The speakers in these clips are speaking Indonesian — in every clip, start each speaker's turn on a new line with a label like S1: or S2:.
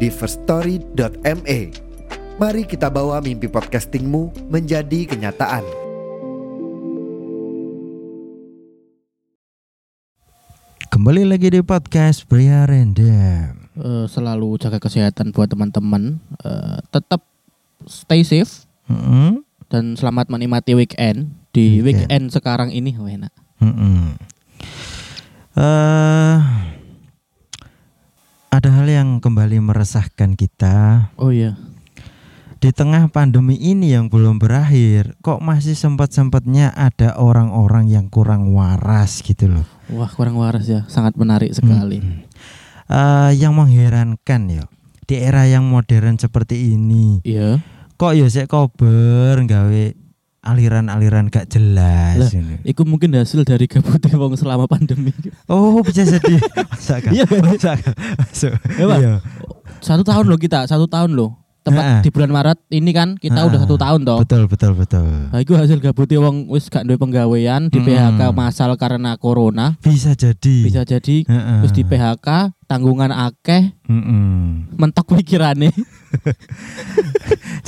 S1: di firststory.me. Mari kita bawa mimpi podcastingmu menjadi kenyataan.
S2: Kembali lagi di podcast Pria Random.
S3: Eh, selalu jaga kesehatan buat teman-teman. Eh, tetap stay safe
S2: Mm-mm.
S3: dan selamat menikmati weekend. Di
S2: Weekend.
S3: weekend sekarang ini, wah enak.
S2: Mm-mm. Eh, ada hal yang kembali meresahkan kita
S3: Oh iya.
S2: di tengah pandemi ini yang belum berakhir. Kok masih sempat-sempatnya ada orang-orang yang kurang waras gitu loh.
S3: Wah kurang waras ya, sangat menarik sekali.
S2: Eh, yang mengherankan ya. Di era yang modern seperti ini,
S3: Iya.
S2: kok ya sik kober gawe aliran-aliran gak jelas
S3: Lah,
S2: ini.
S3: Iku mungkin hasil dari gabutnya wong selama pandemi.
S2: Oh bisa jadi Masa kan?
S3: Iya.
S2: Masa kan? Masuk.
S3: Iya, Pak.
S2: Iya.
S3: Satu tahun loh kita, satu tahun loh. Tepat
S2: Ah.
S3: di bulan Maret ini kan kita udah
S2: Ah,
S3: satu tahun toh.
S2: Betul betul betul
S3: Nah, iku hasil gabutnya wong wis gak duwe penggawean di
S2: Hmm.
S3: PHK masal karena corona.
S2: Bisa jadi
S3: Bisa jadi
S2: Heeh.
S3: wis di PHK tanggungan akeh
S2: Mm-mm.
S3: mentok pikirannya.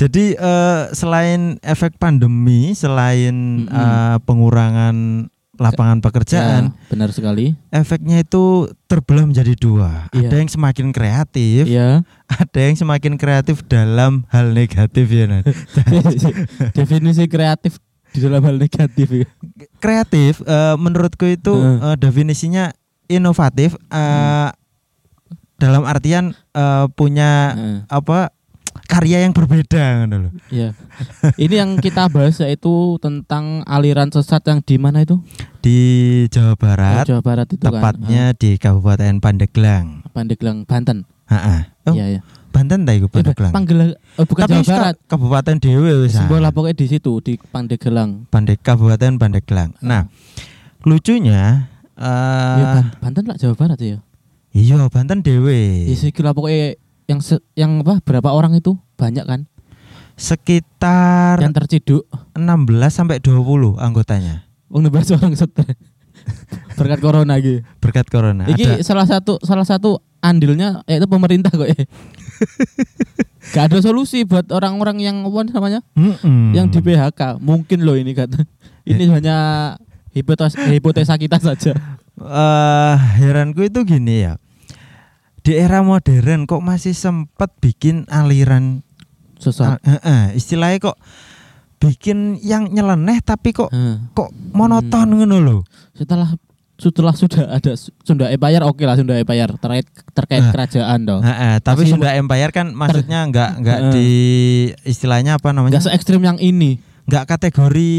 S2: Jadi eh, selain efek pandemi Selain
S3: Mm-mm.
S2: eh, pengurangan lapangan pekerjaan
S3: Ya, benar sekali.
S2: Efeknya itu terbelah menjadi dua
S3: Iya.
S2: Ada yang semakin kreatif
S3: Iya.
S2: Ada yang semakin kreatif dalam hal negatif ya Nan.
S3: Definisi kreatif di dalam hal negatif. ya.
S2: kreatif eh, menurutku itu
S3: Heeh.
S2: eh, definisinya inovatif eh, dalam artian eh, punya
S3: Heeh,
S2: apa karya yang berbeda ngono lho.
S3: Nah, Iya. Ini yang kita bahas yaitu tentang aliran sesat yang di mana itu?
S2: di Jawa
S3: Di
S2: Barat
S3: Oh, Jawa Barat hmm. itu
S2: tepatnya di Kabupaten Pandeglang
S3: kan. Eh, Pandeglang, Banten.
S2: Heeh. Oh,
S3: Iya, iya.
S2: Banten ta iku
S3: Eh, ba-
S2: Pandeglang
S3: Panggela- eh, bukan
S2: tapi
S3: Jawa Barat.
S2: ka- kabupaten dhewe wis ah.
S3: Sebuah lah pokoknya di situ di Pandeglang.
S2: Pandeg Kabupaten Pandeglang
S3: Hmm.
S2: nah lucunya eh,
S3: Ya, Ban- Banten lah Jawa Barat ya.
S2: iya Banten dhewe
S3: Di situ lah pokoknya yang se- yang apa berapa orang itu banyak kan
S2: sekitar
S3: yang terciduk
S2: 16 sampai 20 anggotanya
S3: wong nembah orang stres berkat corona gitu.
S2: berkat corona.
S3: Iki
S2: Nah, Ada
S3: salah satu salah satu andilnya yaitu pemerintah kok. eh. gak ada solusi buat orang-orang yang apa namanya?
S2: Mm-mm.
S3: yang di PHK. Mungkin loh ini kata. Ini hanya hipotes hipotesa kita saja.
S2: Eh, heranku itu gini ya. Di era modern kok masih sempat bikin aliran
S3: Susah.
S2: al- eh, eh, istilahnya kok bikin yang nyeleneh tapi kok
S3: Heeh.
S2: kok
S3: Hmm.
S2: monoton ngono lho.
S3: Nah, eh, Setelah setelah sudah ada Su- Sunda Empire oke lah Sunda Empire terkait terkait
S2: Ah.
S3: kerajaan dong.
S2: Eh, eh, tapi
S3: Oh. Masih
S2: Sunda Empire kan maksudnya nggak nggak
S3: Eh.
S2: di istilahnya apa namanya?
S3: Enggak se ekstrim yang ini.
S2: nggak kategori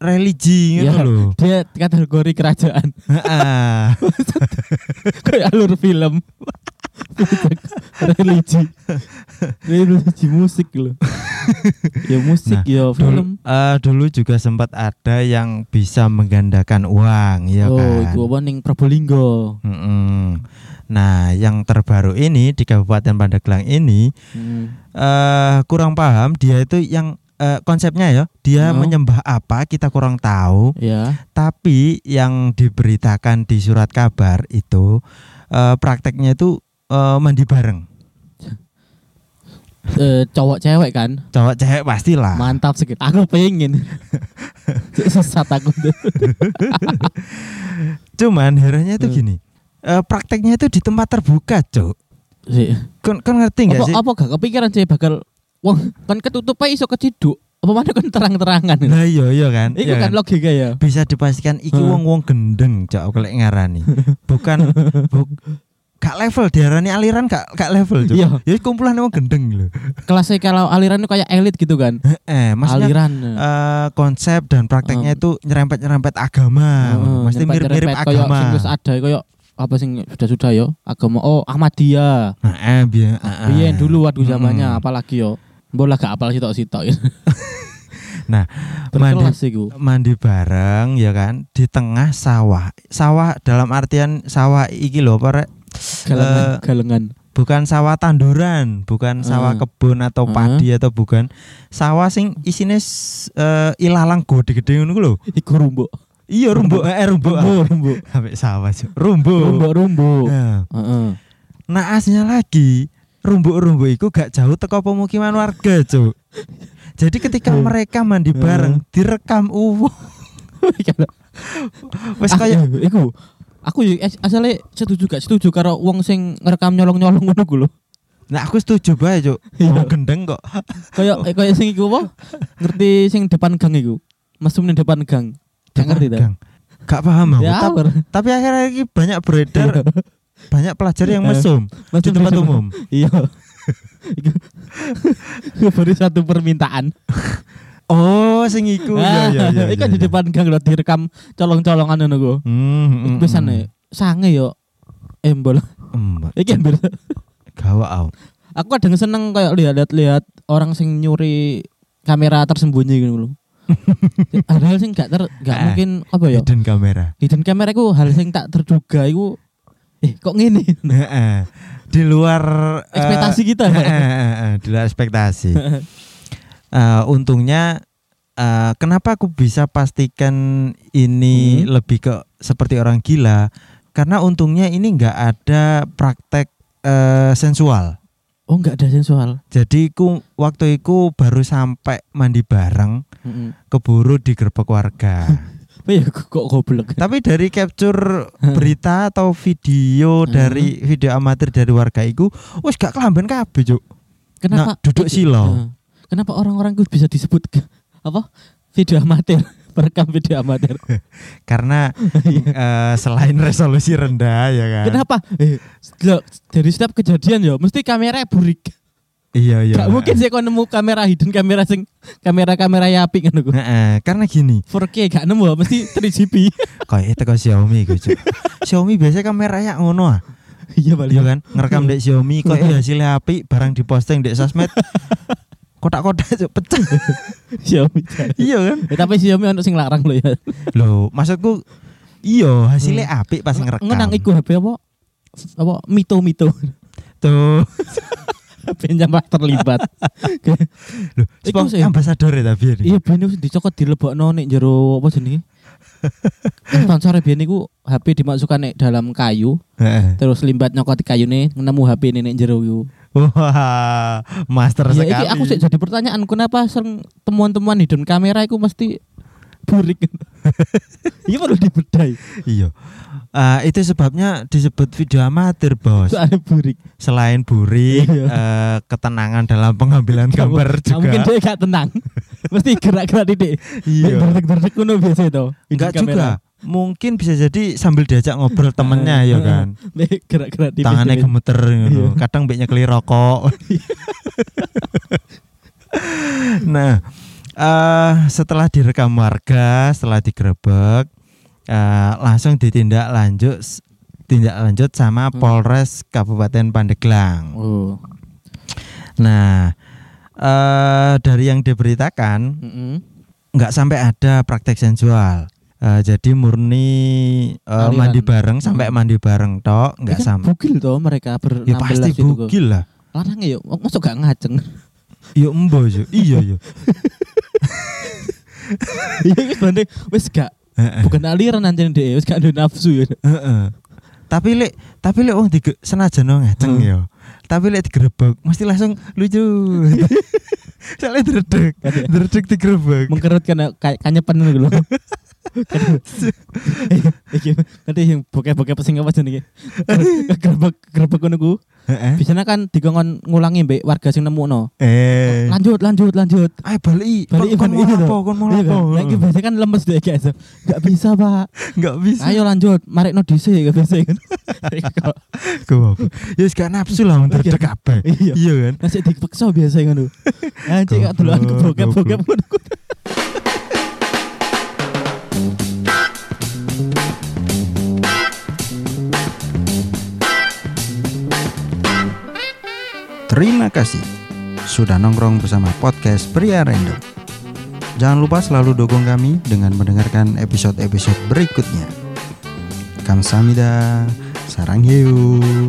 S2: religi
S3: Iya.
S2: ngono lho. Eh,
S3: Dia kategori kerajaan.
S2: Heeh.
S3: Kayak alur film. religi. religi musik loh. ya musik
S2: Nah,
S3: ya
S2: Dulu,
S3: film.
S2: eh, dulu juga sempat ada yang bisa menggandakan uang, ya
S3: oh,
S2: kan?
S3: iku apa ning Probolinggo.
S2: Mm-mm. Nah, yang terbaru ini di Kabupaten Pandeglang ini
S3: Hmm.
S2: eh kurang paham dia itu yang eh, konsepnya ya, dia
S3: Oh.
S2: menyembah apa kita kurang tahu,
S3: Ya.
S2: tapi yang diberitakan di surat kabar itu eh, prakteknya itu eh, mandi bareng.
S3: Eh, cowok cewek kan.
S2: Cowok cewek pastilah.
S3: Mantap sekali. Aku pengen. Sesat aku.
S2: Cuman herannya itu
S3: Hmm.
S2: gini. eh, prakteknya itu di tempat terbuka, Cuk.
S3: Sih.
S2: Kon, kon ngerti nggak
S3: Apa,
S2: sih?
S3: apa gak kepikiran sih bakal wong kan ketutup ae iso keciduk. Apa mana kan terang-terangan.
S2: Lah iya iya kan.
S3: Iku
S2: iya
S3: kan logika ya.
S2: bisa dipastikan iki
S3: Heeh.
S2: wong-wong gendeng cok aku lek ngarani. Bukan bu- gak level diarani aliran gak gak level cok.
S3: Iya.
S2: Ya kumpulan wong gendeng lho.
S3: Kelasnya kalau aliran itu kayak elit gitu kan.
S2: Eh, maksudnya
S3: aliran.
S2: eh, konsep dan prakteknya
S3: Em.
S2: itu nyerempet-nyerempet agama.
S3: Heeh,
S2: Mesti
S3: nyerempet-nyerempet
S2: mirip-mirip
S3: Kayak sing
S2: agama.
S3: wis ada kayak apa sing sudah-sudah yo agama oh Ahmadiyah.
S2: Nah, eh, biar,
S3: Biyen Iya, dulu waktu zamannya
S2: Mm.
S3: apalagi yo. Mbok lah gak apal sitok-sitok.
S2: Nah, mandi,
S3: Berkelas iku.
S2: mandi bareng ya kan di tengah sawah. Sawah dalam artian sawah iki lho, Pak Rek. Eh,
S3: Galengan, galengan.
S2: bukan sawah tanduran, bukan sawah
S3: Heeh.
S2: kebun atau
S3: Heeh.
S2: padi atau bukan sawah sing isine s- eh, ilalang gede-gede ngono ku lho.
S3: Iku rumbuk.
S2: Iya rumbuk, eh rumbuk.
S3: Rumbuk, rumbuk.
S2: Ambek sawah. Cuk. Rumbuk.
S3: Rumbuk, rumbuk.
S2: Nah,
S3: Heeh.
S2: naasnya lagi rumbuk-rumbuk itu gak jauh teko pemukiman warga, Cuk. Jadi ketika
S3: Hmm.
S2: mereka mandi bareng direkam uwo. Wes
S3: Ah,
S2: kaya
S3: iya, iku. Aku yo as- asale setuju gak setuju karo wong sing ngerekam nyolong-nyolong ngono ku lho.
S2: nah aku setuju bae, Cuk.
S3: Iya.
S2: Wong gendeng kok. Oh.
S3: Kayak eh, kayak sing iku apa? Ngerti sing depan gang iku. Mesum ning depan gang. Gak ngerti ta?
S2: Gang. Gak paham aku.
S3: Ya,
S2: Tapi-
S3: ber-
S2: Tapi akhirnya ini banyak beredar banyak pelajar yang
S3: Eh.
S2: mesum di
S3: Mesum
S2: tempat
S3: depan-
S2: umum.
S3: Iya. Iku iku baru satu permintaan.
S2: Oh, sing iku. Ya ya ya.
S3: Ah, iku
S2: ya,
S3: di
S2: ya.
S3: depan gang lho direkam colong-colongan ngono ku.
S2: Hmm, hmm,
S3: Iku
S2: hmm.
S3: Biasane sange yo embol.
S2: Hmm,
S3: Iki hampir
S2: Gawak aku.
S3: aku kadang seneng kayak lihat-lihat orang sing nyuri kamera tersembunyi gitu loh. Padahal sing gak ter gak
S2: Ah.
S3: mungkin apa ya?
S2: Hidden kamera.
S3: Hidden kamera iku hal sing tak terduga iku eh kok ngene?
S2: Heeh. Di luar eh,
S3: Ekspektasi kita.
S2: heeh, heeh, heeh, di luar ekspektasi. Eh, untungnya eh, kenapa aku bisa pastikan ini
S3: Hmm.
S2: lebih ke seperti orang gila? Karena untungnya ini nggak ada praktek eh, sensual.
S3: oh enggak ada sensual.
S2: Jadi ku waktu itu baru sampai mandi bareng
S3: Heeh.
S2: keburu digerebek warga.
S3: Apa ya kok kok goblok.
S2: Tapi dari capture berita atau video
S3: Hmm.
S2: dari video amatir dari warga itu, wes gak kelamben kabeh, Cuk. Nah,
S3: Kenapa
S2: duduk silo.
S3: Heeh. Kenapa orang-orang ku bisa disebut ke- apa? Video amatir, perekam video amatir.
S2: Karena eh, selain resolusi rendah ya kan.
S3: Kenapa? Eh, lo, dari setiap kejadian ya mesti kamera burik.
S2: Iya, iya.
S3: Gak mungkin sih kau nemu kamera hidden kamera sing kamera kamera ya api kan aku.
S2: Heeh, karena gini,
S3: 4K gak nemu ya, mesti 3GP.
S2: kayak itu Xiaomi iku, Cuk. Xiaomi biasanya kameranya ngono ah.
S3: Iya
S2: Iya kan, ngerekam dek Xiaomi, kok eh, hasilnya api, barang diposting dek sosmed, kotak-kotak Cuk, pecah.
S3: Xiaomi.
S2: iya kan
S3: Eh, tapi Xiaomi untuk sing larang loh ya.
S2: loh maksudku iya hasilnya apik pas ngerekam
S3: Hmm. Ngenang iku HP apa? Apa Mito Mito.
S2: tuh
S3: HP nyampah terlibat. Oke.
S2: loh
S3: Iku
S2: spons
S3: sih.
S2: ambasador ya tapi ini
S3: Iya ben wis dicokot dilebokno nek jero apa jenenge? Kan sponsor biyen iku HP dimasukkan nek dalam kayu,
S2: Heeh.
S3: terus limbat nyokot kayune nemu HP ini nek jero iku.
S2: wah master
S3: Ya,
S2: sekali
S3: iki aku sih jadi pertanyaan kenapa sering temuan-temuan hidden kamera itu mesti burik. Iya perlu dibedai.
S2: iya Eh, itu sebabnya disebut video amatir bos
S3: Soalnya burik.
S2: selain burik
S3: Iya.
S2: eh, ketenangan dalam pengambilan
S3: Gak
S2: gambar
S3: Nah, mungkin
S2: juga
S3: dia gak tenang. mesti gerak-gerak titik.
S2: iya
S3: Berdek-berdek kuno biasa itu.
S2: enggak juga mungkin bisa jadi sambil diajak ngobrol
S3: Eh,
S2: temennya ya kan
S3: Nek gerak-gerak titik.
S2: tangannya gemeter gitu. kadang beknya keli rokok nah eh setelah direkam warga setelah digerebek eh langsung ditindak lanjut tindak lanjut sama Polres Kabupaten Pandeglang
S3: Oh.
S2: nah eh dari yang diberitakan
S3: Mm-mm.
S2: nggak sampai ada praktek sensual Eh, jadi murni eh,
S3: Aliran.
S2: mandi bareng sampai mandi bareng tok nggak
S3: Ya kan
S2: sampai
S3: Bugil toh mereka ber
S2: ya pasti bugil lah
S3: Larang ya, oh, masuk gak ngajeng.
S2: Yo embo yo. Iya yo.
S3: Iya wis banding wis gak
S2: Heeh,
S3: bukan aliran anjing deh, wis gak ada nafsu ya.
S2: heeh. Tapi lek tapi lek wong dige senajan wong ngajeng
S3: Hmm.
S2: yo. Tapi lek digerebek mesti langsung lucu. Soalnya dredeg,
S3: Kan ya,
S2: dredeg digerebek.
S3: mengkerut karena kayaknya penuh gitu loh. Kan, eh, Iki nanti yang bokeh-bokeh pesing apa jenenge? Gerbek gerbek ngono ku.
S2: Heeh.
S3: Biasanya kan dikongkon ngulangi mbek warga sing nemukno.
S2: Eh.
S3: Lanjut lanjut lanjut.
S2: Ayo balik.
S3: Balik,
S2: Kon- kon
S3: balik,
S2: mau
S3: iya,
S2: apa? Kon mau
S3: Iya
S2: apa?
S3: kan? Lah iki biasanya kan lemes deh guys. Gak bisa, Pak.
S2: Enggak bisa.
S3: Ayo lanjut, marekno dhisik gak bisa kan.
S2: Goblok. Ya wis gak nafsu lah mun dredeg kabeh.
S3: Iya.
S2: Iya kan?
S3: Nasi dipeksa biasa ngono. Anjing gak duluan
S2: Goblok,
S3: kebokeh-bokeh
S2: goblok.
S3: ngono.
S2: Terima kasih sudah nongkrong bersama podcast Pria Random. Jangan lupa selalu dukung kami dengan mendengarkan episode-episode berikutnya. Kamsahamnida, sarang hiu.